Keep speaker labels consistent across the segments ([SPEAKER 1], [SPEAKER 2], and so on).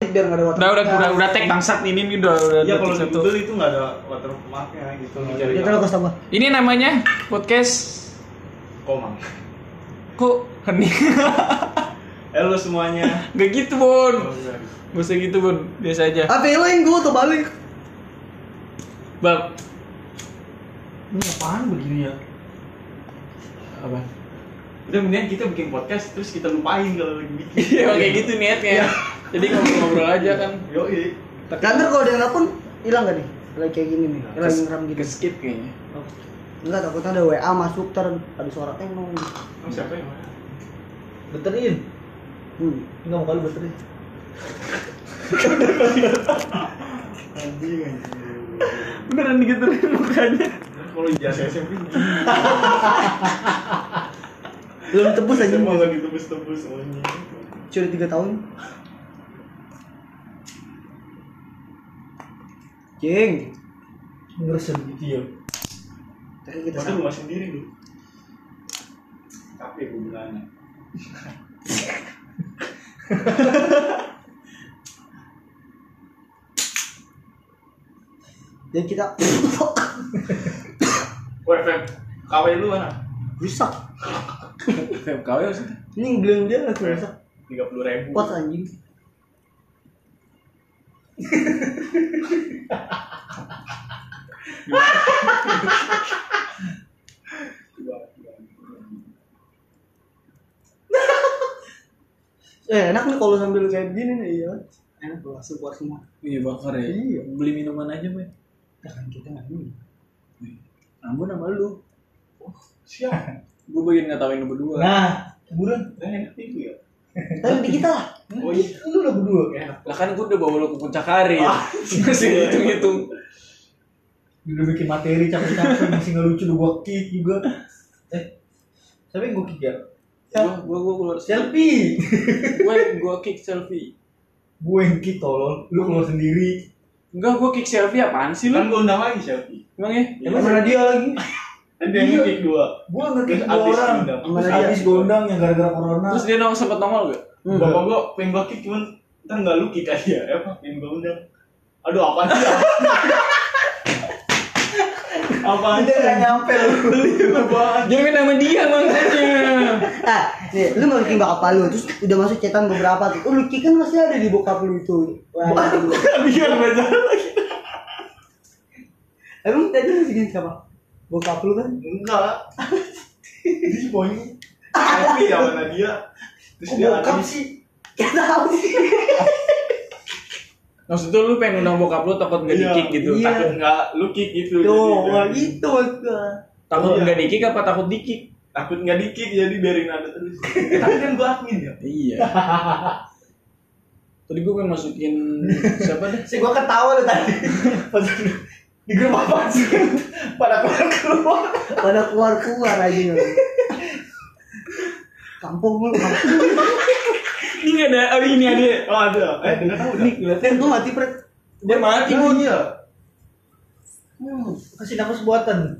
[SPEAKER 1] biar nggak ada
[SPEAKER 2] Udah udah udah udah tag bangsat ini nih udah udah
[SPEAKER 3] Ya
[SPEAKER 2] udah
[SPEAKER 3] kalau
[SPEAKER 2] tag
[SPEAKER 3] di
[SPEAKER 2] satu.
[SPEAKER 3] Google itu nggak ada watermarknya gitu. Dicari
[SPEAKER 1] Ya terus tambah.
[SPEAKER 2] Ini namanya podcast
[SPEAKER 3] komang.
[SPEAKER 2] kok hening.
[SPEAKER 3] Halo semuanya.
[SPEAKER 2] Gak gitu Bon. Gak usah gitu Bon, biasa aja.
[SPEAKER 1] Ah feeling gua tuh balik.
[SPEAKER 2] Bab
[SPEAKER 1] Ini apaan begini ya?
[SPEAKER 2] apa?
[SPEAKER 3] Udah mendingan kita bikin podcast terus kita lupain kalau lagi bikin.
[SPEAKER 2] Iya emang kayak gitu niatnya. Jadi ngobrol-ngobrol aja kan.
[SPEAKER 3] Yo
[SPEAKER 1] Nanti kalau dia nelfon hilang gak nih? Lagi kayak gini nih, lagi
[SPEAKER 2] Kes-
[SPEAKER 1] ngeram gitu.
[SPEAKER 2] Ke skip kayaknya.
[SPEAKER 1] Enggak takutnya ada WA masuk ter ada suara tengong.
[SPEAKER 3] siapa ya, yang mana?
[SPEAKER 4] Beterin.
[SPEAKER 1] Hmm.
[SPEAKER 4] Enggak mau kali beterin.
[SPEAKER 3] Anjing anjing.
[SPEAKER 2] Beneran digituin mukanya.
[SPEAKER 3] Kalau ijazah SMP
[SPEAKER 1] Belum tebus aja
[SPEAKER 3] Semua lagi tebus-tebus anjing.
[SPEAKER 1] curi 3 tahun. Jeng,
[SPEAKER 4] Ngeresen gitu ya.
[SPEAKER 1] tadi kita
[SPEAKER 3] Masa
[SPEAKER 1] sama.
[SPEAKER 3] rumah sendiri lu. Tapi gue bilangnya.
[SPEAKER 1] Jadi kita
[SPEAKER 3] Woi Feb, KW lu mana?
[SPEAKER 1] rusak.
[SPEAKER 2] Feb kau ya maksudnya.
[SPEAKER 1] Ini gelang dia langsung rusak.
[SPEAKER 3] Tiga puluh ribu.
[SPEAKER 1] Kuat anjing. Eh enak nih kalau sambil kayak gini nih iya. Enak tuh langsung keluar semua.
[SPEAKER 2] Iya bakar ya.
[SPEAKER 1] Iya.
[SPEAKER 2] Beli minuman aja, Boy.
[SPEAKER 1] Ya kan kita nggak ini.
[SPEAKER 2] Ambon sama lu.
[SPEAKER 3] Siap.
[SPEAKER 2] Gue bagian ngetawain lu berdua.
[SPEAKER 4] Nah, cemburuan.
[SPEAKER 3] Nah, enak nih gue ya.
[SPEAKER 1] Tapi di kita lah.
[SPEAKER 3] Oh iya.
[SPEAKER 4] Lu udah berdua.
[SPEAKER 3] Enak.
[SPEAKER 2] Lah kan gue udah bawa lo ke puncak hari. Masih hitung-hitung.
[SPEAKER 4] Udah bikin materi capek-capek masih nggak lucu udah gua kick juga. Eh. Tapi gua kick ya.
[SPEAKER 2] Gua gua gua keluar.
[SPEAKER 4] Selfie.
[SPEAKER 2] Gue gua kick selfie.
[SPEAKER 4] Gua yang kick
[SPEAKER 1] gitu,
[SPEAKER 4] tolol. Lu keluar sendiri.
[SPEAKER 2] Enggak, gua kick selfie apaan sih
[SPEAKER 3] Kan
[SPEAKER 2] lu?
[SPEAKER 3] gue undang lagi selfie.
[SPEAKER 2] Emang ya?
[SPEAKER 3] Iya.
[SPEAKER 4] Emang mana dia lagi?
[SPEAKER 3] Ada yang ngekik dua.
[SPEAKER 4] Gua ngerti
[SPEAKER 3] Terus
[SPEAKER 4] dua
[SPEAKER 3] abis
[SPEAKER 4] orang.
[SPEAKER 3] diundang.
[SPEAKER 4] Terus
[SPEAKER 1] Mana dia?
[SPEAKER 4] abis gondang yang gara-gara corona.
[SPEAKER 2] Terus dia nongol sempat nongol gak?
[SPEAKER 3] Bapak gua pengen gua kick cuman ntar nggak lu kick aja ya apa pengen gua undang. Aduh apa sih? apa
[SPEAKER 4] Dia nggak nyampe lu.
[SPEAKER 3] banget?
[SPEAKER 2] Jangan nama dia makanya.
[SPEAKER 1] Ah, nih, lu masukin bakal lu, terus udah masuk cetan beberapa tuh. Oh, lu kick kan masih ada di bokap lu itu. Wah, iya.
[SPEAKER 3] Biar belajar lagi.
[SPEAKER 1] Emang tadi masukin siapa? Bokap lu kan?
[SPEAKER 3] Enggak. Jadi poni. Tapi ya mana dia? Terus
[SPEAKER 4] Kok
[SPEAKER 3] dia
[SPEAKER 4] bokap
[SPEAKER 3] habis.
[SPEAKER 4] sih?
[SPEAKER 1] Oh, Gak tau sih.
[SPEAKER 2] Maksudnya lu pengen undang bokap lu takut nggak
[SPEAKER 3] Iya.
[SPEAKER 2] di-kick gitu.
[SPEAKER 1] Iya.
[SPEAKER 3] Takut nggak lu kick
[SPEAKER 1] Tuh,
[SPEAKER 3] gitu. Jadi
[SPEAKER 1] wah,
[SPEAKER 3] dia-
[SPEAKER 1] gitu maksud gua.
[SPEAKER 2] Takut
[SPEAKER 3] Iya.
[SPEAKER 2] nggak di-kick apa takut di-kick?
[SPEAKER 3] Takut nggak di kick jadi biarin ada terus. Tapi kan gua admin ya.
[SPEAKER 2] Iya. Tadi gue pengen masukin siapa deh?
[SPEAKER 4] Si gua ketawa lu tadi. Pas lu- di grup apa sih? Pada keluar-keluar.
[SPEAKER 1] Pada keluar-keluar aja. Kampung lu, kampung.
[SPEAKER 2] Ini nggak ada, oh ini ada.
[SPEAKER 3] Oh ada. Eh dengar tahu udah.
[SPEAKER 1] Dan Kan gua mati, Pret.
[SPEAKER 2] Dia mati
[SPEAKER 3] Oh
[SPEAKER 2] pun.
[SPEAKER 3] iya.
[SPEAKER 1] Hmm.
[SPEAKER 4] Kasih nafas buatan.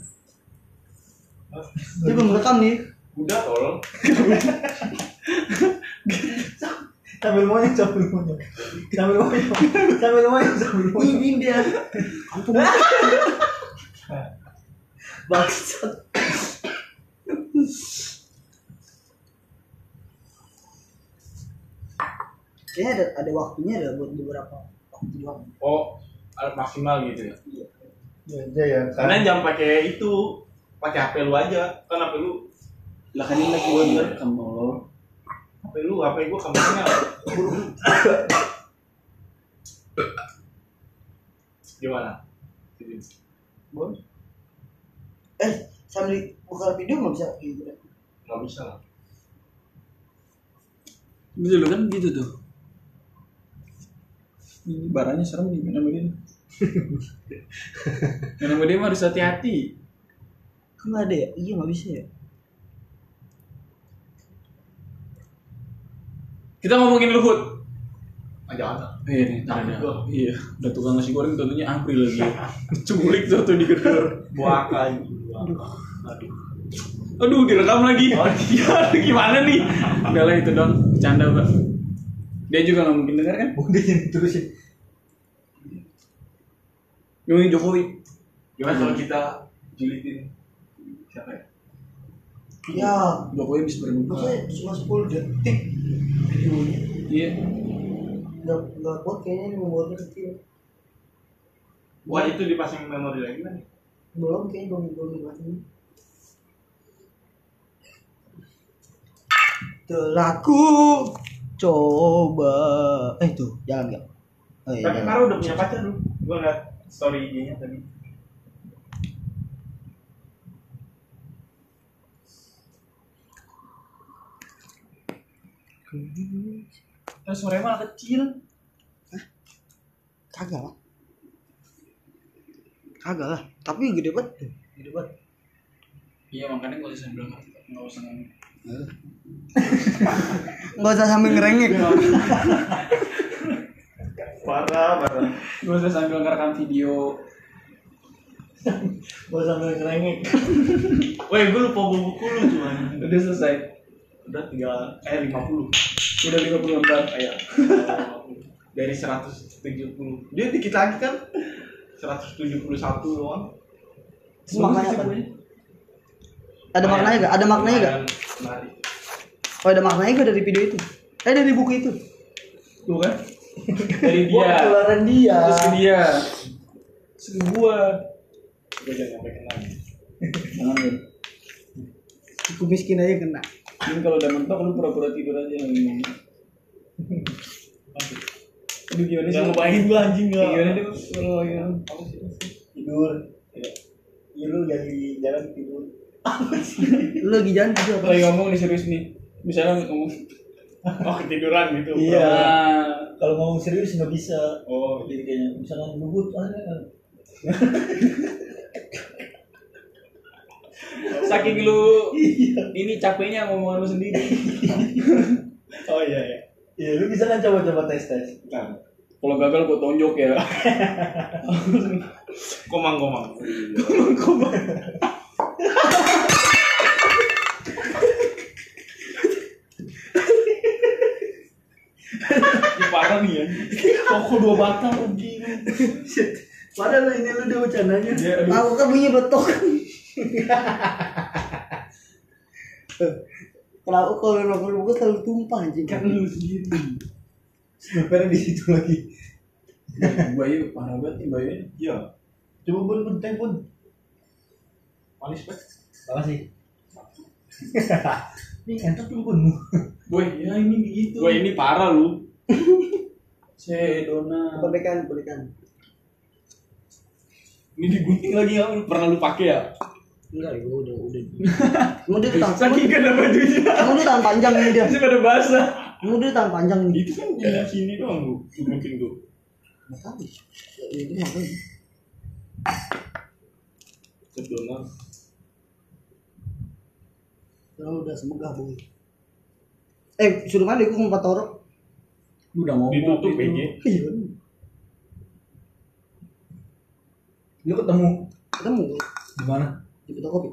[SPEAKER 1] Ini belum rekam nih.
[SPEAKER 3] Udah tolong.
[SPEAKER 4] sambil monyok sambil monyok sambil monyok sambil monyok sambil monyok
[SPEAKER 1] Ini dia. Kampung. Bangsat. Kayaknya ada, ada waktunya ada buat beberapa waktu doang.
[SPEAKER 3] Oh maksimal gitu ya.
[SPEAKER 4] ya ya, ya
[SPEAKER 3] Karena jangan pakai itu, pakai HP lu aja. Kan HP lu,
[SPEAKER 2] Lah kan ini lagi gue direkam lo.
[SPEAKER 3] HP lu, HP gua kameranya buruk. Gimana?
[SPEAKER 1] Bon. Eh, sambil buka video nggak bisa gitu.
[SPEAKER 3] Gak bisa lah.
[SPEAKER 2] Gitu lo kan gitu tuh. Ini barangnya serem nih, main sama dia. Main sama dia mah harus hati-hati.
[SPEAKER 1] Kan nggak ada ya? Iya nggak bisa ya.
[SPEAKER 2] Kita ngomongin Luhut.
[SPEAKER 3] Ah, jangan lah.
[SPEAKER 2] Iya nih, ntar
[SPEAKER 3] Takut
[SPEAKER 2] ada.
[SPEAKER 3] gua.
[SPEAKER 2] Iya, udah tukang nasi goreng tentunya April lagi. Culik tuh tuh di gedor.
[SPEAKER 3] Buaka ini. buaka. Aduh.
[SPEAKER 2] Aduh, direkam lagi. Ya, gimana nih? Udah lah itu dong, bercanda, Pak. Dia juga nggak mungkin dengar kan?
[SPEAKER 4] Udah jadi terusin.
[SPEAKER 2] Ini Jokowi.
[SPEAKER 3] Gimana kalau kita julitin siapa ya?
[SPEAKER 1] Ya,
[SPEAKER 2] Jokowi habis berbuka.
[SPEAKER 1] maksudnya cuma 10 detik videonya.
[SPEAKER 2] Iya.
[SPEAKER 1] Nggak, nggak kuat kayaknya ini membuatnya kecil.
[SPEAKER 3] Wah itu dipasang memori lagi kan?
[SPEAKER 1] Belum kayaknya belum belum dimatiin. Telah ku coba eh tuh jalan nggak? Oh iya.
[SPEAKER 3] Tapi
[SPEAKER 1] jalan.
[SPEAKER 3] Karo udah punya pacar lu. Gua ngeliat story IG-nya tadi. Terus suaranya malah kecil.
[SPEAKER 1] Kagak lah. Kagak lah. Tapi gede banget. tuh. Gede banget.
[SPEAKER 2] Iya makanya gue usah bilang nggak usah ngomong.
[SPEAKER 1] Nggak usah sambil ngerengek.
[SPEAKER 3] Parah, parah.
[SPEAKER 2] Gue usah sambil ngerekam video.
[SPEAKER 4] Gua sambil ngerengek.
[SPEAKER 3] Woi, gue lupa bawa buku lu tuh anjing.
[SPEAKER 2] Udah selesai.
[SPEAKER 3] Udah tiga, eh lima puluh.
[SPEAKER 2] Udah 50 lembar.
[SPEAKER 3] Ayo. Dari 170. Dia dikit lagi kan? 171 doang.
[SPEAKER 1] Terus maknanya apa? Ada maknanya gak? Ada maknanya gak?
[SPEAKER 3] Mari.
[SPEAKER 1] Oh ada maknanya gak dari video itu? Eh dari buku itu?
[SPEAKER 2] Tuh kan? Dari
[SPEAKER 1] Wah,
[SPEAKER 2] dia.
[SPEAKER 1] keluaran dia.
[SPEAKER 2] Terus ke dia. Terus ke gua.
[SPEAKER 3] Gue jangan sampai kena.
[SPEAKER 2] Jangan lu.
[SPEAKER 1] Cukup miskin aja kena.
[SPEAKER 2] Ini kalau udah mentok lu pura-pura tidur aja yang ngomong. Aduh gimana sih?
[SPEAKER 3] Jangan ngebayangin gue anjing
[SPEAKER 2] Kayak
[SPEAKER 3] gak.
[SPEAKER 2] Gimana deh kalau yang apa sih?
[SPEAKER 4] Tidur. Iya lu lagi jalan tidur.
[SPEAKER 1] Lu lagi jalan gitu apa?
[SPEAKER 2] Lagi ngomong nih serius nih. Misalnya ngomong.
[SPEAKER 3] Oh ketiduran gitu.
[SPEAKER 4] Iya.
[SPEAKER 2] Ah,
[SPEAKER 4] Kalau ngomong serius nggak bisa.
[SPEAKER 3] Oh,
[SPEAKER 4] Jadi kayaknya misalkan luhut ada.
[SPEAKER 2] Saking lu ini capeknya ngomongan lu sendiri.
[SPEAKER 3] oh iya iya.
[SPEAKER 4] Iya lu bisa kan coba-coba tes tes.
[SPEAKER 3] Nah,
[SPEAKER 2] Kalau gagal gua tonjok ya.
[SPEAKER 3] komang komang.
[SPEAKER 2] Ini parah nih ya. Toko dua batang rugi.
[SPEAKER 4] Padahal ini lu udah bercandanya.
[SPEAKER 2] Dia aduh.
[SPEAKER 1] Aku kan bunyi betok. Kenapa kalau novel buku selalu tumpah anjing?
[SPEAKER 2] Kan lu sendiri.
[SPEAKER 4] Snoopernya di situ lagi.
[SPEAKER 2] Bayu parah banget nih Bayu.
[SPEAKER 3] Iya.
[SPEAKER 4] Coba bun bun teh bun.
[SPEAKER 3] Manis banget.
[SPEAKER 4] Makasih. Ini entok lu bun.
[SPEAKER 2] Boy, ya ini begitu.
[SPEAKER 3] Gue ini parah lu.
[SPEAKER 2] Sedona.
[SPEAKER 1] Kebekan, kebekan.
[SPEAKER 3] Ini digunting lagi ya. Lu pernah lu pakai ya?
[SPEAKER 1] Enggak, ya udah, udah. Mau dia tangan,
[SPEAKER 2] Saking gak ada bajunya.
[SPEAKER 1] mau dia tangan panjang ini dia.
[SPEAKER 2] Masih pada basah.
[SPEAKER 1] Mau dia tangan panjang nih.
[SPEAKER 3] Itu kan di sini doang lu. Digunting tuh.
[SPEAKER 1] Nggak tahu. Ya, Ini ngapain?
[SPEAKER 3] Sedona.
[SPEAKER 1] Lalu udah semegah boy. Eh, suruh mandi gue empat torok.
[SPEAKER 2] Lu udah ngomong.
[SPEAKER 3] Ditutup
[SPEAKER 2] gitu.
[SPEAKER 3] BG.
[SPEAKER 1] Iya.
[SPEAKER 4] Lu ketemu
[SPEAKER 1] Ketemu gua
[SPEAKER 4] di mana?
[SPEAKER 1] di fotokopi.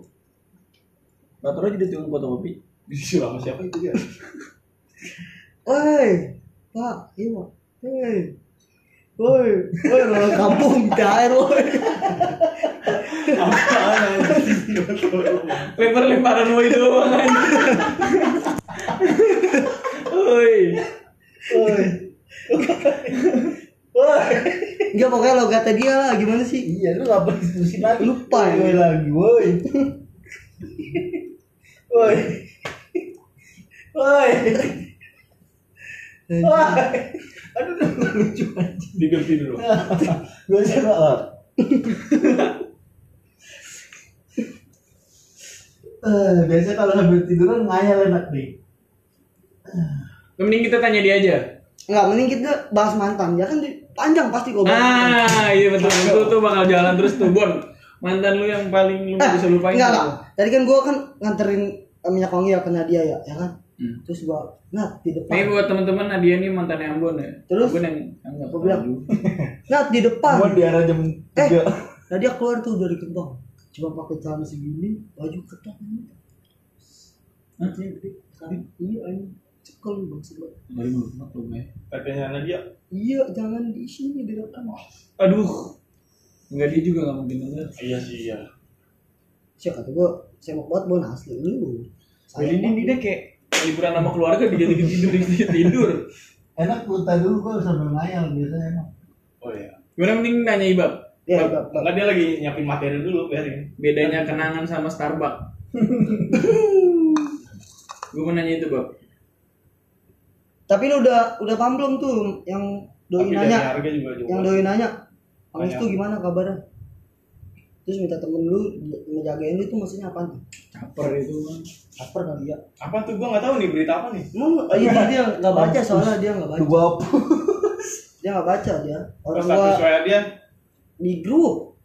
[SPEAKER 2] Batur aja dia tukang fotokopi.
[SPEAKER 3] Disuruh sama siapa itu ya?
[SPEAKER 1] Woi, Pak, iya Pak. Woi, woi, woi, orang kampung cair, woi.
[SPEAKER 3] Apaan anjing?
[SPEAKER 2] Lempar-lemparan Boy doang anjir. Oi.
[SPEAKER 1] Woi. Woi. Enggak pokoknya lo kata dia lah, gimana sih?
[SPEAKER 4] Iya, lu apa diskusi lagi?
[SPEAKER 1] Lupa ya.
[SPEAKER 4] Woi lagi, woi. woi. Woi. Woi. Aduh, aduh, lucu anjing.
[SPEAKER 3] Diganti dulu.
[SPEAKER 4] Gua coba lah. Eh, biasanya kalau habis tiduran ngayal enak nih.
[SPEAKER 2] Nah, Mending kita tanya dia aja.
[SPEAKER 1] Enggak, mending kita bahas mantan. Ya kan di- panjang pasti kok. bahas mantan.
[SPEAKER 2] Ah, iya betul. Itu tuh bakal jalan terus tuh, Bon. Mantan lu yang paling lu
[SPEAKER 1] Eh,
[SPEAKER 2] bisa lupain.
[SPEAKER 1] enggak,
[SPEAKER 2] apa?
[SPEAKER 1] enggak. Tadi kan gua kan nganterin eh, minyak wangi ya kena dia ya, ya kan?
[SPEAKER 2] Hmm.
[SPEAKER 1] Terus gua nat di depan.
[SPEAKER 2] Ini buat teman-teman Nadia nih mantan Ambon ya.
[SPEAKER 1] Terus?
[SPEAKER 2] Ambon yang enggak
[SPEAKER 1] Gua bilang, Nat di depan.
[SPEAKER 4] Cuman di arah jam
[SPEAKER 1] Eh,
[SPEAKER 4] 3.
[SPEAKER 1] nah dia keluar tuh dari gerbang. Cuma pakai celana segini, baju ketat ini.
[SPEAKER 2] Hah?
[SPEAKER 1] Iya, ini. Cekal lu bangsa lu.
[SPEAKER 2] Kemarin belum kenal belum ya.
[SPEAKER 3] katanya Nadia
[SPEAKER 1] Iya, jangan di sini direkam.
[SPEAKER 2] Aduh. Enggak dia juga nggak mungkin denger.
[SPEAKER 3] iya sih iya
[SPEAKER 1] Siapa kata gua semok banget bon asli lu.
[SPEAKER 2] Jadi ini ini dia kayak liburan sama keluarga dijadiin tidur dijadiin tidur.
[SPEAKER 4] Enak kuota dulu gua sambil ngayal biasanya emang.
[SPEAKER 3] oh iya
[SPEAKER 2] Gimana mending nanya Ibab
[SPEAKER 1] Ya, Bab, Bab.
[SPEAKER 3] Enggak dia lagi nyiapin materi dulu biarin
[SPEAKER 2] bedanya kenangan sama Starbucks. Gue mau nanya itu Bab.
[SPEAKER 1] Tapi lu udah udah paham belum tuh yang doi
[SPEAKER 3] tapi dari
[SPEAKER 1] nanya,
[SPEAKER 3] harga juga juga
[SPEAKER 1] yang doi nanya, Kamis
[SPEAKER 3] Nanya.
[SPEAKER 1] tuh gimana kabarnya? Terus minta temen lu ngejagain lu tuh maksudnya apa tuh?
[SPEAKER 2] Caper itu Bang.
[SPEAKER 1] Caper kali ya.
[SPEAKER 3] apa tuh gua nggak tahu nih berita apa nih
[SPEAKER 1] Emang iya dia nggak baca soalnya dia nggak baca.
[SPEAKER 4] Dua apa?
[SPEAKER 1] Dia nggak baca dia. Orang
[SPEAKER 3] terus
[SPEAKER 1] gua
[SPEAKER 3] status saya dia
[SPEAKER 1] di grup,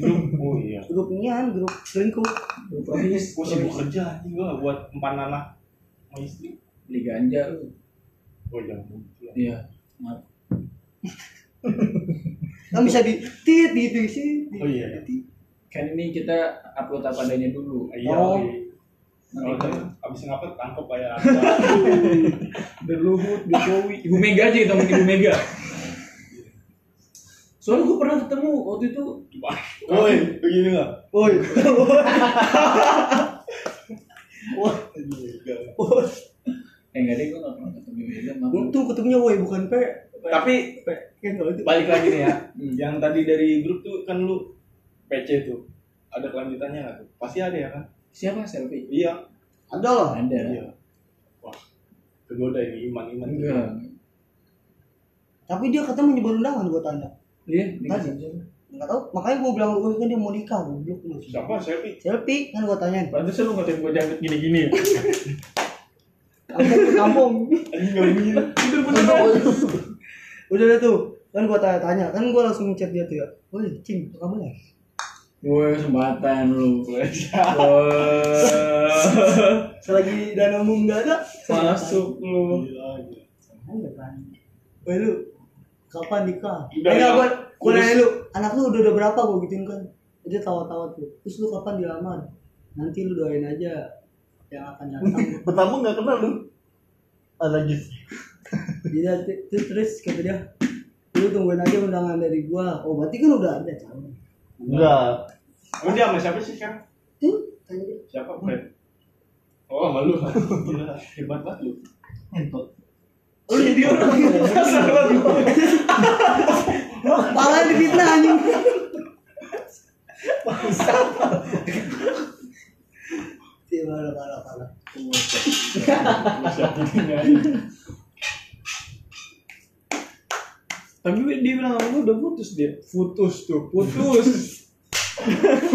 [SPEAKER 3] grup oh iya
[SPEAKER 1] grup nian, grup selingkuh. Iya.
[SPEAKER 3] gua sibuk kerja anjing gua nggak buat empan anak sama istri
[SPEAKER 2] Beli ganja lu.
[SPEAKER 3] oh jangan gitu ya.
[SPEAKER 2] Iya. Maaf.
[SPEAKER 1] Kan bisa di tit gitu sih.
[SPEAKER 3] oh iya iya
[SPEAKER 2] Kan ini kita upload apa adanya dulu.
[SPEAKER 3] iya
[SPEAKER 1] Oh.
[SPEAKER 3] kalau
[SPEAKER 2] Nanti-
[SPEAKER 3] dia abis ngapa tangkap kayak
[SPEAKER 2] The Luhut, Jokowi, Ibu Mega aja kita ngomongin Ibu Mega. Soalnya gue pernah ketemu waktu itu
[SPEAKER 3] woi begini nggak
[SPEAKER 1] Woi.
[SPEAKER 3] wah iya.
[SPEAKER 2] Eh enggak deh, gue gak pernah ketemu Ibu Mega maaf.
[SPEAKER 1] Untung ketemunya woi bukan P.
[SPEAKER 3] tapi
[SPEAKER 1] Kayak nggak itu.
[SPEAKER 3] balik lagi nih ya
[SPEAKER 2] Hmm.
[SPEAKER 3] yang tadi dari grup tuh kan lu PC tuh ada kelanjutannya nggak tuh pasti ada ya kan
[SPEAKER 2] Siapa selfie?
[SPEAKER 3] iya
[SPEAKER 1] Ada lah.
[SPEAKER 2] Ada
[SPEAKER 3] iya wah tergoda ini iman iman
[SPEAKER 2] Enggak
[SPEAKER 1] Tapi dia katanya menyebar undangan buat anda.
[SPEAKER 2] Iya,
[SPEAKER 1] Tadi.
[SPEAKER 2] dikasih
[SPEAKER 1] Nggak tahu. Makanya gue bilang gue kan dia mau nikah. Gue belum lu.
[SPEAKER 3] siapa Selvi
[SPEAKER 1] Selfie kan gue tanyain.
[SPEAKER 2] Pantes lu ngatain gue jangkut gini-gini ya?
[SPEAKER 1] Kampung ke kampung.
[SPEAKER 3] anjing nggak begini
[SPEAKER 2] Bener beneran
[SPEAKER 1] Udah deh tuh. Kan gue tanya-tanya. Kan gue langsung ngechat dia tuh ya. Woi, cing, apa kabar ya?
[SPEAKER 2] Woi, kesempatan lu
[SPEAKER 3] Gua-
[SPEAKER 2] Woi
[SPEAKER 1] Selagi dana mum nggak ada.
[SPEAKER 2] Masuk lu
[SPEAKER 1] Iya.
[SPEAKER 3] Gila, gila.
[SPEAKER 1] Ada kan. Woi lu kapan nikah?
[SPEAKER 3] Udah,
[SPEAKER 1] eh, enggak,
[SPEAKER 3] ya.
[SPEAKER 1] gua gua nanya lu, anak lu udah udah berapa gua gituin kan. Dia tawa-tawa tuh. Terus lu kapan dilamar? Nanti lu doain aja yang akan datang.
[SPEAKER 4] Pertama nggak kenal lu. Ada lagi.
[SPEAKER 1] Jadi nanti terus, terus kata dia, lu tungguin aja undangan dari gua. Oh, berarti kan udah ada calon.
[SPEAKER 4] Enggak.
[SPEAKER 3] Emang dia sama siapa sih sekarang
[SPEAKER 1] Tuh, tanya dia.
[SPEAKER 3] siapa Fred oh sama lu gila hebat banget lu
[SPEAKER 4] Entot.
[SPEAKER 1] Oh, jadi orang. Malah di fitnah anjing. Iya, parah, parah, parah.
[SPEAKER 3] Masih ada ini, anjing.
[SPEAKER 2] Tapi dia bilang sama gue udah putus dia Putus tuh, putus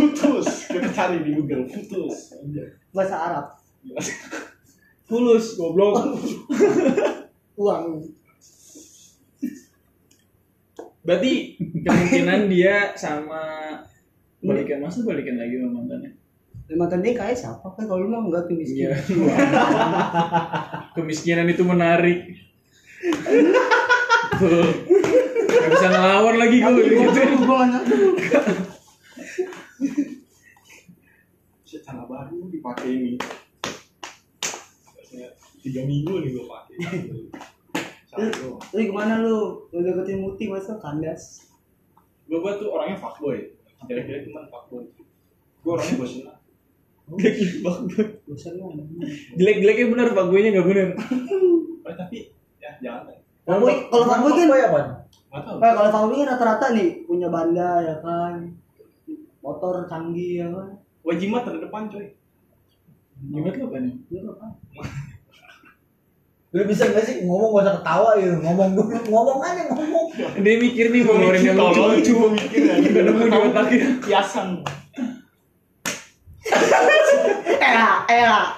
[SPEAKER 3] putus kita cari di Google putus
[SPEAKER 1] Bahasa Arab.
[SPEAKER 2] Tulus, goblok
[SPEAKER 1] Uang.
[SPEAKER 2] Berarti kemungkinan dia sama balikan masa balikan lagi sama mantannya.
[SPEAKER 1] Emang tadi kayak siapa kan kalau lu mah enggak tuh
[SPEAKER 2] Iya.
[SPEAKER 1] miskin.
[SPEAKER 2] Kemiskinan itu menarik. Tuh. Gak bisa ngelawan lagi gue gitu.
[SPEAKER 3] secara baru dipakai ini Biasanya tiga minggu nih gue pakai satu
[SPEAKER 1] Lu gimana lu? Lu deketin Muti masa kandas?
[SPEAKER 3] gue gue tuh orangnya fuckboy kira-kira cuman fuckboy gue orangnya bosan lah
[SPEAKER 1] Bosan lu.
[SPEAKER 2] Jelek-jeleknya bener, Pak gue nya gak bener.
[SPEAKER 3] Eh, tapi ya jangan deh
[SPEAKER 1] Fanboy, kalau fanboy kan
[SPEAKER 4] ya, Pan?
[SPEAKER 3] nggak tahu
[SPEAKER 1] Nah, kalau fanboy kan rata-rata nih punya banda ya kan. Motor canggih ya kan.
[SPEAKER 3] wajimat terdepan coy
[SPEAKER 2] Jimat lo kan?
[SPEAKER 1] Dia apa?
[SPEAKER 4] Lu bisa nggak sih ngomong gak usah ketawa gitu, ngomong dulu, ngomong aja ngomong.
[SPEAKER 2] Dia mikir nih mau ngeluarin yang lucu.
[SPEAKER 3] cuma mikir ya
[SPEAKER 2] Gak nemu di otaknya.
[SPEAKER 3] kiasan
[SPEAKER 1] Era, era.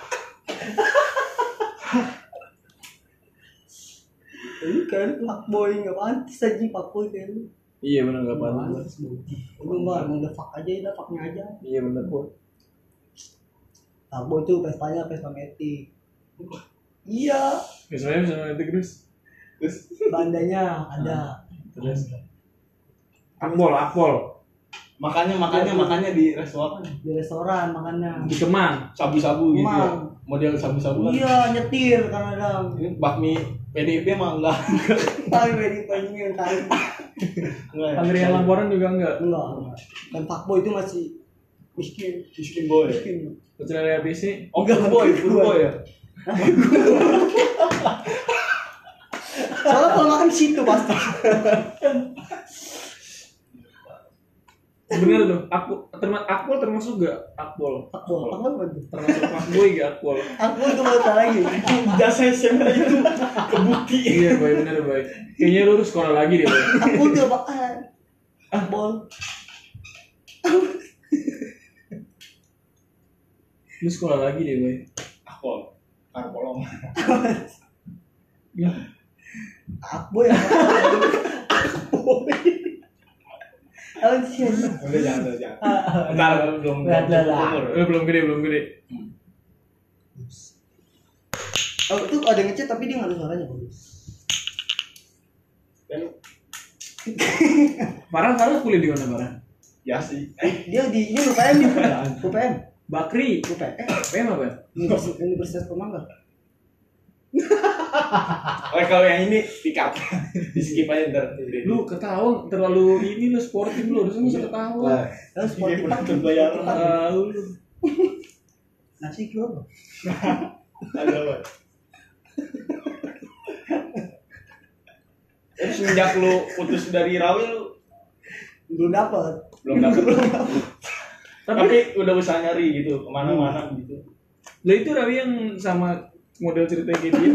[SPEAKER 1] Lu kayak lu fuckboy enggak pantas anjing fuckboy kayak lu.
[SPEAKER 2] Iya bener gak pantas.
[SPEAKER 1] Pantas lu. Lu mah emang udah fuck aja, udah fucknya aja.
[SPEAKER 2] Iya bener gue.
[SPEAKER 1] Fuckboy tuh pestanya pesta metik. Iya.
[SPEAKER 2] Biasanya Ya, bisa gitu, nanti terus.
[SPEAKER 3] terus
[SPEAKER 1] bandanya ada
[SPEAKER 2] Terus. Akpol, akpol.
[SPEAKER 3] makanya makanya makanya di restoran
[SPEAKER 1] di restoran makannya
[SPEAKER 2] Di Kemang.
[SPEAKER 3] sabu-sabu gitu ya
[SPEAKER 1] emang
[SPEAKER 3] model sabu-sabuan.
[SPEAKER 1] iya nyetir karena ada
[SPEAKER 3] Ini bakmi PDP mah enggak.
[SPEAKER 1] tapi wedding planning yang kali
[SPEAKER 3] Enggak.
[SPEAKER 2] Adrian Lamoran juga enggak.
[SPEAKER 1] enggak enggak. dan Pak Boy itu masih miskin
[SPEAKER 3] Miskin boy.
[SPEAKER 1] miskin
[SPEAKER 2] Kecuali dari PC.
[SPEAKER 3] Oh, enggak boy, good boy ya.
[SPEAKER 1] soalnya kalau makan di Kan situ pasti
[SPEAKER 2] Bener tuh. Aku terma akpol termasuk gak akpol.
[SPEAKER 1] Pak Boy Pak Boy apa kan? tuh?
[SPEAKER 2] Termasuk Pak Boy gak akpol.
[SPEAKER 1] Pak Boy itu malah lagi
[SPEAKER 3] Jasa SMA itu kebukti.
[SPEAKER 2] Iya, boy bener boy. Kayaknya lu harus sekolah lagi deh. Boy.
[SPEAKER 1] Pak Boy itu apaan Pak Boy
[SPEAKER 2] Lu sekolah lagi deh boy.
[SPEAKER 3] Akpol. Karpolong.
[SPEAKER 2] Ya.
[SPEAKER 1] Pak Boy apa Apa sih anjing?
[SPEAKER 3] Udah jangan udah, jangan. Entar belum
[SPEAKER 4] Lihat, lihat, lihat.
[SPEAKER 3] umur.
[SPEAKER 2] Eh, belum gede belum gede.
[SPEAKER 1] Oh, itu ada ngechat tapi dia nggak ada suaranya bagus.
[SPEAKER 3] Dan
[SPEAKER 2] Farah Farah kuliah di mana Farah?
[SPEAKER 3] ya sih. Eh,
[SPEAKER 1] Dia di dia UPM nih. UPM.
[SPEAKER 2] Bakri. E,
[SPEAKER 1] UPM. Eh,
[SPEAKER 2] PM apa? ya?
[SPEAKER 1] Universitas, Universitas Pemangga.
[SPEAKER 3] oh, kalau yang ini pick up. Di skip aja ntar.
[SPEAKER 2] Lu ketawa terlalu ini lu sportif lu harusnya bisa ketawa.
[SPEAKER 1] Lalu
[SPEAKER 3] Ini
[SPEAKER 1] sportif
[SPEAKER 3] pernah
[SPEAKER 1] Pak.
[SPEAKER 3] terbayar.
[SPEAKER 2] Tahu lu.
[SPEAKER 1] Nasi kilo.
[SPEAKER 3] Ada apa? Terus semenjak lu putus dari Rawi lu
[SPEAKER 1] Belum dapat.
[SPEAKER 3] belum dapet
[SPEAKER 2] Tapi-
[SPEAKER 3] tapi, udah usaha nyari gitu kemana-mana gitu
[SPEAKER 2] Lah itu Rawi yang sama model cerita kayak dia.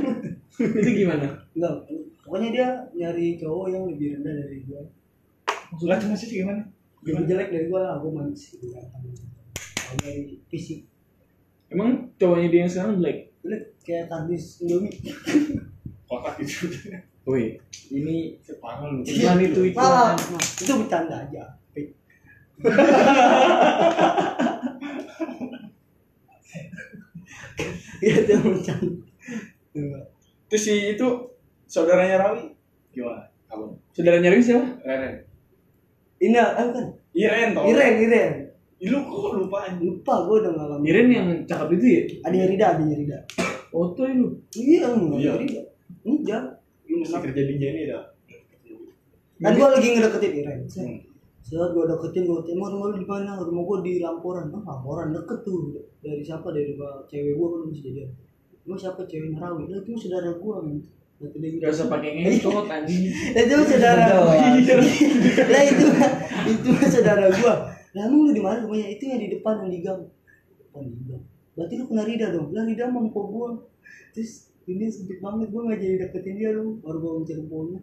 [SPEAKER 2] itu gimana?
[SPEAKER 1] Enggak. Pokoknya dia nyari cowok yang lebih rendah dari gue.
[SPEAKER 3] Maksudnya cuma sih gimana?
[SPEAKER 1] Lebih jelek dari gue lah. Gue manis. Gue ganteng. Kalau dari fisik.
[SPEAKER 2] Emang cowoknya dia yang sekarang black?
[SPEAKER 1] Jelek kayak kardus Indomie.
[SPEAKER 3] Kotak gitu
[SPEAKER 2] Woi, ini
[SPEAKER 3] Parah lu
[SPEAKER 2] iklan Iya. itu
[SPEAKER 1] Malah.
[SPEAKER 2] iklan.
[SPEAKER 1] Itu bercanda aja. Iya itu bercanda.
[SPEAKER 3] Terus si itu saudaranya Rawi Gimana? Kamu?
[SPEAKER 2] Saudaranya Rawi siapa?
[SPEAKER 3] Reren
[SPEAKER 1] Ini ah, bukan.
[SPEAKER 3] Iren tau
[SPEAKER 1] Iren, Iren.
[SPEAKER 3] Ih, Lu kok lupa anjing
[SPEAKER 1] Lupa gue udah ngalamin.
[SPEAKER 2] Iren yang cakep itu ya?
[SPEAKER 1] Adanya Rida, adanya Rida.
[SPEAKER 2] Oto lu.
[SPEAKER 1] Iya, enggak
[SPEAKER 3] Iya.
[SPEAKER 1] ada Rida. Enggak.
[SPEAKER 3] Lu mesti kerja di Jenny dah
[SPEAKER 1] Dan gue Nah, lagi ngedeketin Iren.
[SPEAKER 3] Hmm.
[SPEAKER 1] Saat gue deketin, gue tanya, mau rumah lu di mana? Rumah gue di Lamporan. Ah, Lamporan deket tuh. Dari siapa? Dari rumah cewek gue kan masih jadian. Emang siapa cewek Narawi? Lah, itu saudara gue. men. Kata dia gitu.
[SPEAKER 2] Gak usah pakai ngentot anjing.
[SPEAKER 1] Lah, itu saudara gue. Lah, itu itu saudara gue. Lah, emang lu di mana rumahnya? Itu yang di depan, yang di gang. Depan di gang. Berarti lu kena Rida dong. Lah, Rida mampu gue. Terus, ini sedih banget. Gue gak jadi deketin dia dong. Baru gue mencari polnya.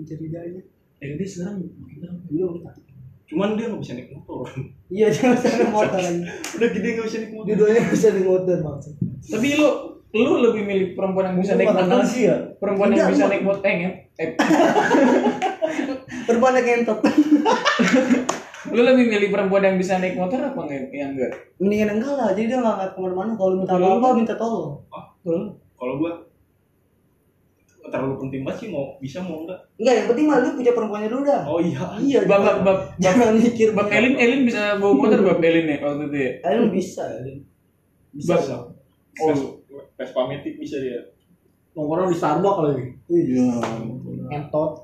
[SPEAKER 1] Mencari Ridanya.
[SPEAKER 2] Eh dia sekarang makin terang.
[SPEAKER 1] Belum, tak.
[SPEAKER 3] Cuman dia gak bisa naik motor
[SPEAKER 1] Iya, jangan sana motor lagi.
[SPEAKER 3] Udah gede gak bisa naik motor
[SPEAKER 1] Judulnya bisa di motor maksud.
[SPEAKER 2] Tapi lu lu lebih milih perempuan yang bisa naik
[SPEAKER 4] Bukan
[SPEAKER 2] motor
[SPEAKER 4] sih ya?
[SPEAKER 2] Perempuan yang
[SPEAKER 1] Enggak,
[SPEAKER 2] bisa
[SPEAKER 1] lu-
[SPEAKER 2] naik motor eh, ngen- eh,
[SPEAKER 1] Perempuan yang entot.
[SPEAKER 2] lu lebih milih perempuan yang bisa naik motor apa nge- yang enggak?
[SPEAKER 1] Mendingan enggak lah, jadi dia enggak ngeliat kemana-mana. Kalau lu minta
[SPEAKER 2] Kalau
[SPEAKER 1] apa-apa,
[SPEAKER 2] lu-
[SPEAKER 1] minta tolong.
[SPEAKER 2] Lu
[SPEAKER 3] Kalau gua Terlalu penting banget sih mau bisa mau enggak
[SPEAKER 1] Enggak, yang penting mah lu punya perempuannya dulu dah.
[SPEAKER 3] Oh iya
[SPEAKER 1] Iya,
[SPEAKER 2] Bab-
[SPEAKER 1] jangan-
[SPEAKER 2] bab- bab-
[SPEAKER 1] jangan mikir
[SPEAKER 2] Bab Elin Elin bisa bawa motor Bab Elin ya waktu itu ya.
[SPEAKER 1] Kalian bisa, Elin.
[SPEAKER 2] Bab
[SPEAKER 3] Oh Vespa Matic bisa dia
[SPEAKER 4] Nongkrong di Starbucks lagi.
[SPEAKER 1] Iya.
[SPEAKER 4] Entot.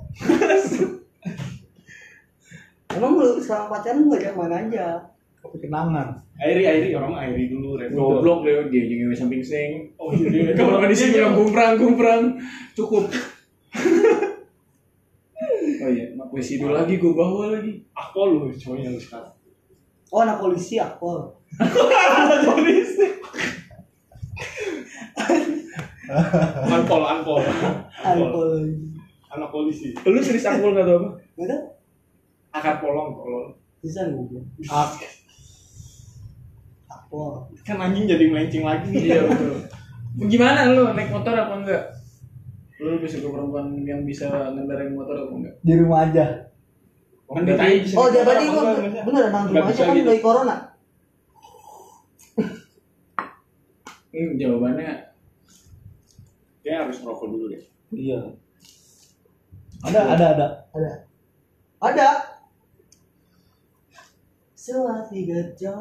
[SPEAKER 1] Emang lu selama pacaran lu ajak mana aja?
[SPEAKER 4] Kopi kenangan.
[SPEAKER 3] Airi, Airi, orang mah Airi dulu, Revo.
[SPEAKER 2] goblok deh dia juga samping sing.
[SPEAKER 3] Oh iya,
[SPEAKER 2] Kalau nggak di sini bilang kumprang kumprang cukup. Oh iya, gue sidul lagi, gue bawa lagi.
[SPEAKER 3] Aku lu cowoknya lu sekarang.
[SPEAKER 1] Oh, anak polisi aku.
[SPEAKER 3] Anpol, anpol. Anpol.
[SPEAKER 1] Alkohol.
[SPEAKER 3] Anak polisi.
[SPEAKER 2] Lu serius akul nggak tau apa?
[SPEAKER 1] Mana?
[SPEAKER 3] Akar polong, polong.
[SPEAKER 1] Bisa gue.
[SPEAKER 4] Ah,
[SPEAKER 1] Aku.
[SPEAKER 3] Kan anjing jadi melenceng lagi.
[SPEAKER 2] Iya betul. Gimana lu naik motor apa enggak? Lu lebih suka perempuan yang bisa ngendarain motor apa enggak?
[SPEAKER 4] di rumah aja.
[SPEAKER 3] Kan ditanya bisa
[SPEAKER 1] Oh,
[SPEAKER 3] naik
[SPEAKER 1] dia
[SPEAKER 3] motor
[SPEAKER 1] berarti
[SPEAKER 3] apa
[SPEAKER 1] gua
[SPEAKER 3] enggak, misalnya.
[SPEAKER 1] bener anak
[SPEAKER 3] Nggak
[SPEAKER 1] rumah aja
[SPEAKER 3] bisa
[SPEAKER 1] kan
[SPEAKER 3] gitu.
[SPEAKER 1] dari corona.
[SPEAKER 2] Hmm, jawabannya
[SPEAKER 3] Dia harus ngerokok dulu deh.
[SPEAKER 4] Iya. Ada, ada, ada.
[SPEAKER 1] Ada. Ada. Selati gajah.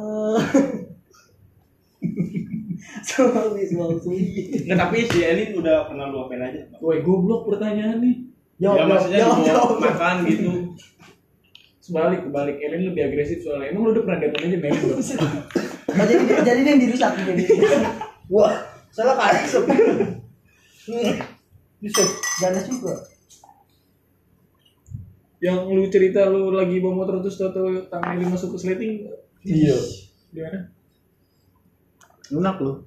[SPEAKER 4] sama Wisma Atlet.
[SPEAKER 3] Nggak, tapi si Elin udah pernah lu apain aja?
[SPEAKER 2] Woi, goblok pertanyaan nih.
[SPEAKER 3] ya
[SPEAKER 4] Jawab,
[SPEAKER 3] maksudnya
[SPEAKER 4] jawab,
[SPEAKER 3] dibawa
[SPEAKER 4] jawab, jawab.
[SPEAKER 3] makan gitu.
[SPEAKER 2] Sebalik, kebalik. Elin lebih agresif soalnya. Emang lu udah pernah datang aja Melin belum?
[SPEAKER 4] Oh, jadi jadi dia yang dirusak jadi. Wah, salah kali sepi. Yusuf, ganas juga.
[SPEAKER 2] Yang lu cerita lu lagi bawa motor terus tahu tangan Elin masuk ke sleting.
[SPEAKER 1] Iya.
[SPEAKER 2] Di mana?
[SPEAKER 4] Lunak lu.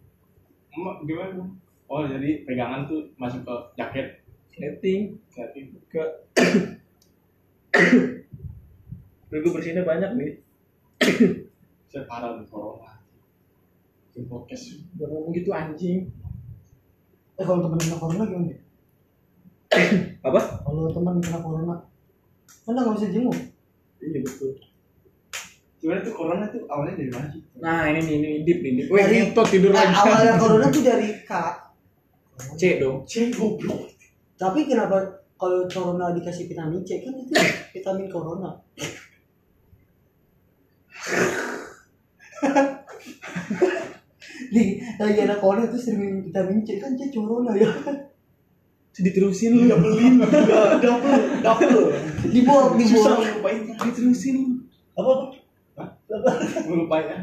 [SPEAKER 3] Emak, gimana? Oh, jadi pegangan tuh masuk ke jaket.
[SPEAKER 2] Sleting
[SPEAKER 3] Jadi,
[SPEAKER 2] ke Udah gue bersihinnya banyak nih.
[SPEAKER 3] saya parah di corona. Di podcast.
[SPEAKER 2] Udah ngomong gitu anjing.
[SPEAKER 4] Eh kalau temen kena corona gimana? ya?
[SPEAKER 2] Apa?
[SPEAKER 4] Kalau teman kena corona, kan nggak bisa jenguk.
[SPEAKER 2] Iya betul.
[SPEAKER 3] Sebenarnya tuh corona tuh awalnya dari mana sih?
[SPEAKER 2] Nah ini nih, ini dip nih dip. Woi,
[SPEAKER 4] Dari-
[SPEAKER 2] ngentot tidur
[SPEAKER 4] Nah,
[SPEAKER 2] lagi.
[SPEAKER 4] awalnya corona tuh dari K,
[SPEAKER 2] C dong.
[SPEAKER 3] Cek goblok.
[SPEAKER 4] tapi kenapa kalau corona dikasih vitamin C kan itu vitamin corona. Nih, lagi ada corona tuh sering minum vitamin C kan C corona ya.
[SPEAKER 2] Terus Diterusin lu. Dibelin.
[SPEAKER 3] Double, double.
[SPEAKER 4] Dibuang,
[SPEAKER 3] Susah
[SPEAKER 4] dibuang.
[SPEAKER 3] ngelupain itu.
[SPEAKER 2] Diterusin lu.
[SPEAKER 4] Apa? apa?
[SPEAKER 3] Ngelupain ya.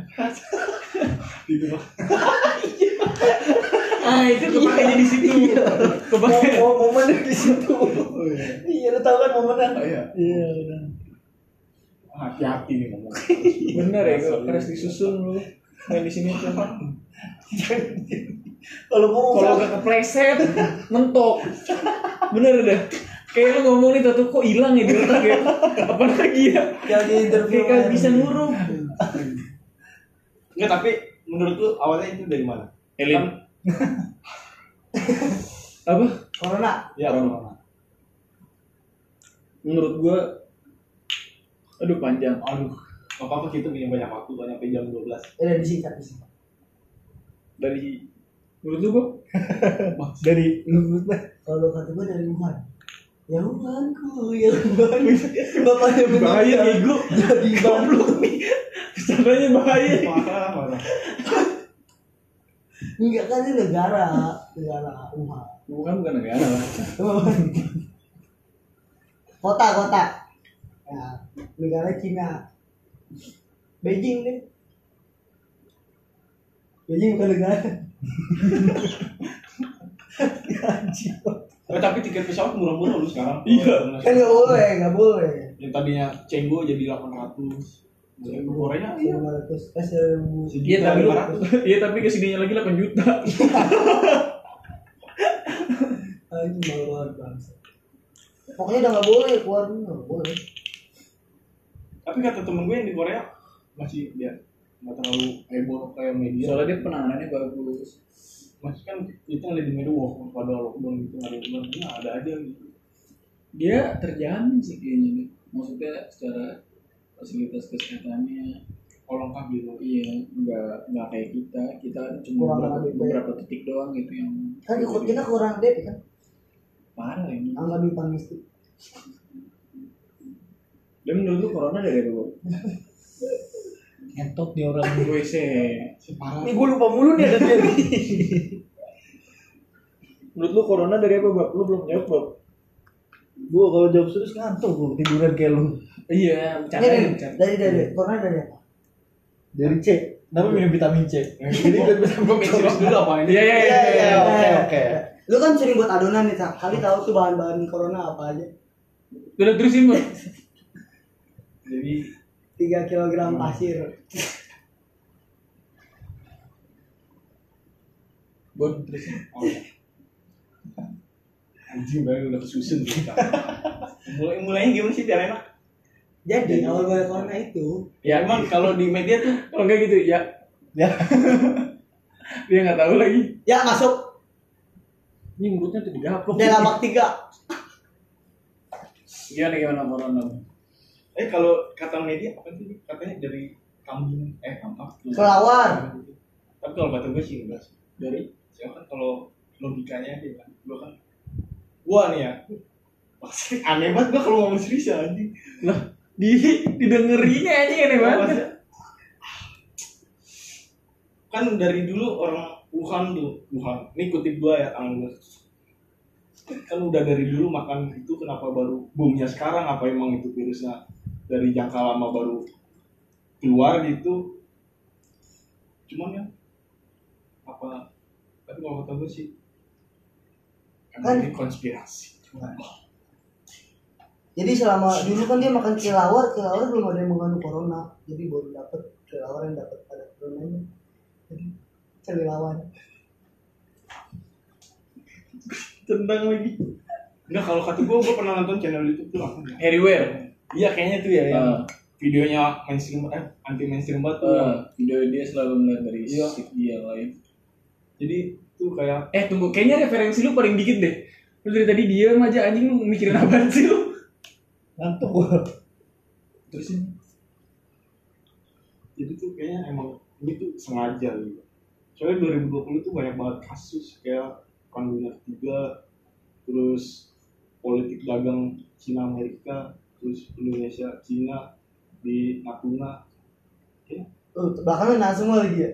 [SPEAKER 3] Gitu lah.
[SPEAKER 2] Ah itu kepakainya di situ. Kepake.
[SPEAKER 4] Mo- mo- momen di situ.
[SPEAKER 3] Oh iya.
[SPEAKER 4] Iya, lu tahu kan momennya.
[SPEAKER 3] Oh iya.
[SPEAKER 4] Iya, udah.
[SPEAKER 3] Hati-hati nih ngomong.
[SPEAKER 2] Bener ya, gua harus disusun lu. Main di sini tuh.
[SPEAKER 4] Kalau mau
[SPEAKER 2] Kalau gak kepleset, mentok. Bener dah. Kayak lu ngomong nih tuh kok hilang ya di otak ya. Apa lagi ya?
[SPEAKER 4] yang di interview
[SPEAKER 2] Kayak kagak bisa ngurung.
[SPEAKER 3] Enggak, tapi menurut lu awalnya itu dari mana?
[SPEAKER 2] Elin. Apa?
[SPEAKER 4] corona
[SPEAKER 3] Ya, corona.
[SPEAKER 2] Menurut gua aduh panjang.
[SPEAKER 3] Aduh, gak apa-apa kita punya banyak waktu, banyak sampai jam 12
[SPEAKER 4] udah disingkat disingkat
[SPEAKER 2] Dari menurut lu gua
[SPEAKER 1] Dari lu
[SPEAKER 4] kalau kata gue dari Wuhan ya Wuhanku ya Wuhan bapaknya
[SPEAKER 2] bahaya
[SPEAKER 4] meninggal.
[SPEAKER 2] ego.
[SPEAKER 4] jadi baru
[SPEAKER 2] Caranya bahaya.
[SPEAKER 3] Parah, parah
[SPEAKER 4] enggak kan ini negara negara Wuhan
[SPEAKER 2] Bukan bukan negara lah.
[SPEAKER 4] kota kota ya negara Cina Beijing deh Beijing bukan negara Anjing.
[SPEAKER 3] Eh, tapi tiket pesawat murah-murah lu sekarang
[SPEAKER 2] Iya.
[SPEAKER 4] kan nggak boleh nggak boleh
[SPEAKER 3] Yang tadinya cenggo jadi 800 Cenggo Korea, iya
[SPEAKER 4] lima ratus eh seribu
[SPEAKER 2] Iya tapi lu,
[SPEAKER 3] 1.500.
[SPEAKER 2] iya tapi kesininya lagi 8 juta.
[SPEAKER 4] anjing mahal banget bangsa pokoknya udah nggak boleh keluar dulu nggak boleh
[SPEAKER 3] Tapi kata temen gue yang di Korea Masih, dia nggak terlalu heboh kayak media
[SPEAKER 2] Soalnya dia penanganannya bagus.
[SPEAKER 3] Masih kan kita ngeliat di media, wah pada lockdown gitu Ada yang bilang, "Nah, ada aja gitu
[SPEAKER 2] Dia terjamin sih kayaknya nih. Maksudnya secara fasilitas kesehatannya
[SPEAKER 3] Kalau lengkap gitu
[SPEAKER 2] iya nggak nggak kayak kita kita cuma
[SPEAKER 4] Kurang
[SPEAKER 2] beberapa,
[SPEAKER 4] lebih.
[SPEAKER 2] beberapa titik doang gitu yang
[SPEAKER 4] kan ikut kita kurang deh kan
[SPEAKER 2] parah ini
[SPEAKER 4] angga dwi pangesti
[SPEAKER 2] dan menurut lu corona dari apa Bob?
[SPEAKER 1] ngentot nih orang.
[SPEAKER 2] gue sih
[SPEAKER 3] Si parah
[SPEAKER 4] gue lupa mulu nih ada dia
[SPEAKER 2] menurut lu corona dari apa Bob? lu belum jawab Bob
[SPEAKER 1] Gua kalau jawab serius ngantuk gua tiduran kayak lu.
[SPEAKER 2] iya
[SPEAKER 4] dari
[SPEAKER 2] bercanda bercanda
[SPEAKER 4] dari dari ya? corona dari apa
[SPEAKER 1] Dari C. Kenapa minum vitamin C? Jadi biar bisa
[SPEAKER 3] Gue main serius dulu apa ini
[SPEAKER 2] iya iya iya, iya
[SPEAKER 1] iya, oke, oke.
[SPEAKER 4] lu kan sering buat adonan nih Cak. kali tahu tuh bahan-bahan corona apa aja
[SPEAKER 2] udah terusin Bob
[SPEAKER 3] Jadi
[SPEAKER 4] tiga kilogram pasir
[SPEAKER 2] Bob terusin
[SPEAKER 3] Oh. Anjing baru udah kesusun tuh kita. Mulai mulainya gimana sih biar enak?
[SPEAKER 4] jadi awal mulai corona itu
[SPEAKER 3] Ya emang kalau di media tuh
[SPEAKER 2] kalau enggak gitu ya
[SPEAKER 1] Ya.
[SPEAKER 2] dia nggak tahu lagi
[SPEAKER 4] ya masuk
[SPEAKER 2] ini mulutnya tuh digaplok
[SPEAKER 4] dalam bak tiga
[SPEAKER 2] gimana gimana corona
[SPEAKER 3] eh kalau kata media apa sih? Katanya dari kambing eh apa?
[SPEAKER 4] kelawar
[SPEAKER 3] Tapi kalau kata gue sih enggak. sih.
[SPEAKER 2] dari
[SPEAKER 3] Soalnya kan kalau logikanya dia kan gua kan gua nih ya. Pasti aneh banget gua kalau ngomong serius ya anjing.
[SPEAKER 2] lah di didengerinnya aja aneh banget
[SPEAKER 3] Maksudnya, kan dari dulu orang Wuhan tuh Wuhan ini kutip gua ya tangan gua kan udah dari dulu makan itu kenapa baru boomnya sekarang apa emang itu virusnya dari jangka lama baru keluar gitu cuman ya apa tapi kalau kata gue sih
[SPEAKER 1] Kan-
[SPEAKER 3] kan ini konspirasi cuman
[SPEAKER 1] Jadi selama dulu kan dia makan kelawar, kelawar belum ada yang mengandung corona, jadi baru dapet kelawar yang dapet pada coronanya. Jadi kelawar.
[SPEAKER 3] tendang lagi enggak kalau kata gue gue pernah nonton channel YouTube tuh apa ya?
[SPEAKER 2] Everywhere.
[SPEAKER 3] iya kayaknya tuh ya yang
[SPEAKER 2] Ah.
[SPEAKER 3] videonya mainstream eh anti mainstream banget tuh
[SPEAKER 2] Eh, video dia selalu melihat dari
[SPEAKER 3] Iya.
[SPEAKER 2] segi yang lain.
[SPEAKER 3] jadi tuh kayak
[SPEAKER 2] Eh tunggu, kayaknya referensi lu paling dikit deh. Lu dari tadi diam aja anjing lu mikirin apa sih lu?
[SPEAKER 1] Ngantuk gua.
[SPEAKER 3] terus ini jadi tuh kayaknya emang ini tuh sengaja gitu soalnya 2020 tuh banyak banget kasus kayak pandemi tiga terus politik dagang Cina Amerika terus Indonesia Cina di Natuna
[SPEAKER 1] Oh, belakangan nah semua lagi ya.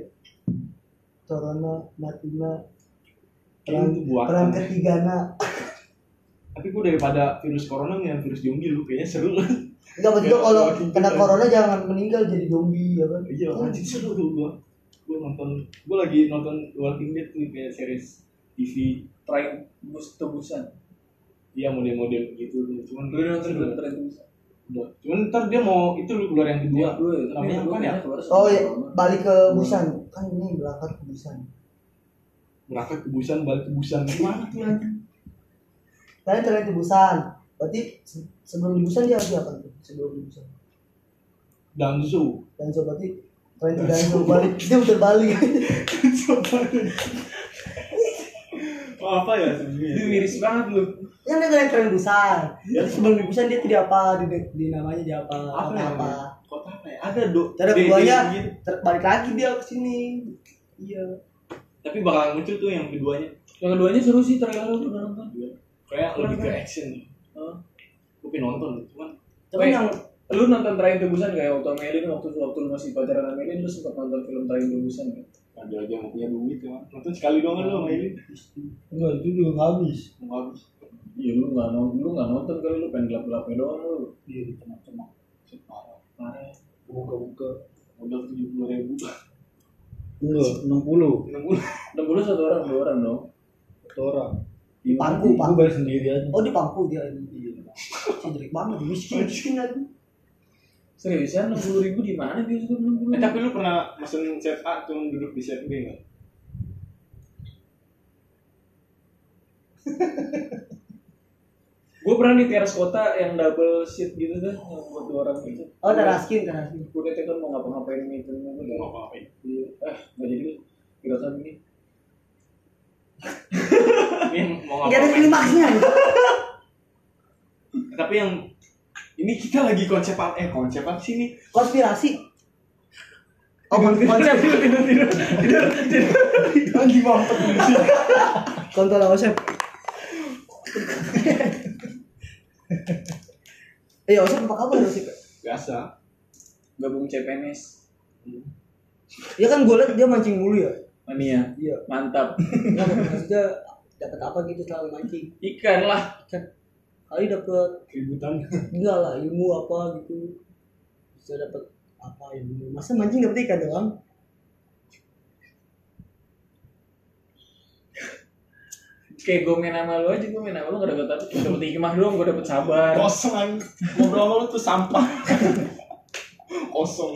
[SPEAKER 1] Corona, Natuna,
[SPEAKER 3] Kayaknya
[SPEAKER 1] perang,
[SPEAKER 3] itu buatan.
[SPEAKER 1] perang
[SPEAKER 4] kan-
[SPEAKER 1] ketiga nak.
[SPEAKER 3] tapi gue daripada virus corona nih virus zombie lu kayaknya seru lah
[SPEAKER 1] Enggak betul
[SPEAKER 3] Ya,
[SPEAKER 1] kalau
[SPEAKER 3] makin
[SPEAKER 1] kena
[SPEAKER 3] kita-
[SPEAKER 1] corona jangan meninggal jadi zombie ya kan.
[SPEAKER 3] iya anjing seru tuh gue gue nonton gue lagi nonton The Walking Dead tuh kayak series TV
[SPEAKER 2] Try bus tebusan.
[SPEAKER 3] iya model-model gitu tuh. cuman
[SPEAKER 2] Lu nonton
[SPEAKER 3] seru.
[SPEAKER 2] belum try tebusan?
[SPEAKER 3] Udah. cuman ntar dia mau itu lu keluar yang kedua
[SPEAKER 2] Iya,
[SPEAKER 3] namanya apa ya
[SPEAKER 1] Oh iya, balik ke Busan. Kan ini berangkat ke Busan.
[SPEAKER 3] berangkat ke Busan balik ke Busan gimana tuh anjing
[SPEAKER 1] Saya terakhir di Busan. Berarti se- sebelum di Busan dia harus apa tuh? Sebelum di Busan.
[SPEAKER 3] Dansu
[SPEAKER 1] dan coba di tren dan coba balik dia udah balik
[SPEAKER 3] oh, apa ya sebenarnya
[SPEAKER 2] Itu miris banget lu.
[SPEAKER 1] yang dia tren tren busan Terus sebelum di busan dia tidak apa di, di namanya dia apa apa
[SPEAKER 3] Iya. apa ya
[SPEAKER 1] apa
[SPEAKER 3] namanya? kota apa ya ada do
[SPEAKER 1] Terus
[SPEAKER 3] desa
[SPEAKER 1] keduanya
[SPEAKER 3] gitu.
[SPEAKER 1] ter- balik lagi dia ke sini iya
[SPEAKER 3] tapi bakalan muncul tuh yang keduanya
[SPEAKER 2] Yang keduanya seru sih trailer lu udah nonton.
[SPEAKER 3] kayak
[SPEAKER 2] Keren,
[SPEAKER 3] lebih ke
[SPEAKER 2] keren.
[SPEAKER 3] action
[SPEAKER 2] Hah?
[SPEAKER 3] gue pengen nonton cuman
[SPEAKER 1] tapi
[SPEAKER 2] Wait.
[SPEAKER 1] yang
[SPEAKER 2] Lu nonton Try tebusan gak ya waktu sama Elin waktu waktu lu masih pacaran sama Elin lu sempat nonton film Try tebusan gak?
[SPEAKER 3] ada aja yang punya duit ya nonton sekali doang kan lu sama ini
[SPEAKER 1] enggak itu juga nggak habis
[SPEAKER 3] mau habis
[SPEAKER 2] Iya lu nggak nonton, lu nggak nonton kali lu pengen gelap gelapnya doang lu.
[SPEAKER 1] dia di tengah-tengah
[SPEAKER 3] separah
[SPEAKER 2] Parah.
[SPEAKER 1] buka-buka
[SPEAKER 3] modal tujuh puluh ribu
[SPEAKER 4] Enggak, 60
[SPEAKER 3] enam bulan
[SPEAKER 2] Enam puluh satu orang dua orang dong.
[SPEAKER 4] satu orang.
[SPEAKER 1] di pangku
[SPEAKER 4] Gue
[SPEAKER 1] pangku
[SPEAKER 4] balik sendiri aja.
[SPEAKER 1] oh di pangku dia ini cedrik banget miskin miskin lagi
[SPEAKER 2] Seriusan enam puluh ribu di mana dia sudah enam puluh?
[SPEAKER 3] eh, tapi lu pernah mesen set A cuma duduk di set B nggak
[SPEAKER 2] Gue pernah di teras kota yang double seat gitu tuh yang buat dua orang gitu.
[SPEAKER 1] oh teraskin teraskin
[SPEAKER 2] Gue kata kan mau ngapa-ngapain gitu gitu.
[SPEAKER 3] lu mau apa apain
[SPEAKER 2] Iya. Eh nggak jadi lu. Kira-kira ini.
[SPEAKER 3] ini mau
[SPEAKER 1] nggak ada
[SPEAKER 3] ngapa
[SPEAKER 1] klimaksnya
[SPEAKER 3] tapi yang ini kita lagi konsep apa eh konsep apa sih nih
[SPEAKER 1] konspirasi oh konsep
[SPEAKER 2] tidur tidur tidur tidur tidur.
[SPEAKER 3] lagi mampet di sini
[SPEAKER 1] kontol sama Osep Eh Osep apa kabar Osep?
[SPEAKER 3] biasa
[SPEAKER 2] Gabung CPNS.
[SPEAKER 1] Ya kan gue liat dia mancing mulu ya
[SPEAKER 2] Mania.
[SPEAKER 1] Iya
[SPEAKER 2] Mantap.
[SPEAKER 1] Nggak, Maksudnya dapat apa gitu selalu mancing
[SPEAKER 2] Ikan lah.
[SPEAKER 1] Kali dapat
[SPEAKER 3] keributan
[SPEAKER 1] enggak lah ilmu apa gitu Bisa dapat apa ilmu Masa mancing dapat ikan doang?
[SPEAKER 2] Kayak gue main sama lu aja, gue main sama lu gak dapet apa Cuma dapet hikmah doang, gue dapet sabar
[SPEAKER 3] kosong anjing. ngobrol sama lu tuh sampah kosong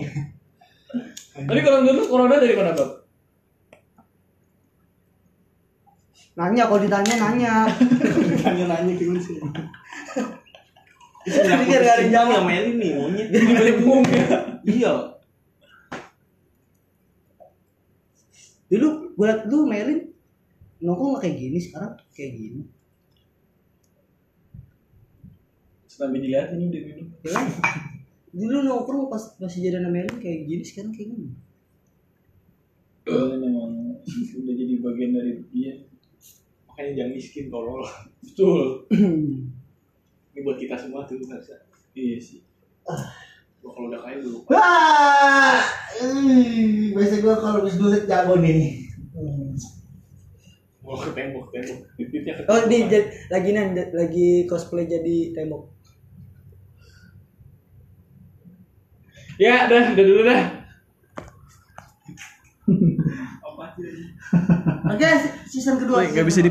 [SPEAKER 2] Tapi kalau menurut lu corona dari mana Bob?
[SPEAKER 1] Nanya kalau ditanya nanya
[SPEAKER 3] nanya nanya gitu sih
[SPEAKER 1] Ini biar gak ada yang jawab.
[SPEAKER 3] sama Eli nih monyet
[SPEAKER 2] Jadi melengkung ya
[SPEAKER 3] iya
[SPEAKER 1] Dulu gue liat dulu Merlin Nongkrong nggak kayak gini sekarang kayak gini
[SPEAKER 2] Sampai dilihat ini udah gitu. minum
[SPEAKER 1] Ya kan? Dulu nongkrong pas masih jadi nama Merlin kayak gini sekarang kayak gini
[SPEAKER 2] Soalnya memang udah jadi bagian dari dia
[SPEAKER 3] makanya jangan miskin tolol
[SPEAKER 2] Betul
[SPEAKER 3] ini buat kita semua tuh harusnya
[SPEAKER 2] Iya sih
[SPEAKER 3] Gua kalau udah kaya dulu
[SPEAKER 1] Wah, eh, biasa gue kalau habis duit jago nih. Hmm.
[SPEAKER 3] titiknya ketutupan.
[SPEAKER 1] Oh, di jad- lagi nan jad- lagi cosplay jadi tembok.
[SPEAKER 2] Ya, dah, udah dulu dah.
[SPEAKER 3] Apa sih?
[SPEAKER 1] Oke, season kedua.
[SPEAKER 2] Woi, nggak bisa di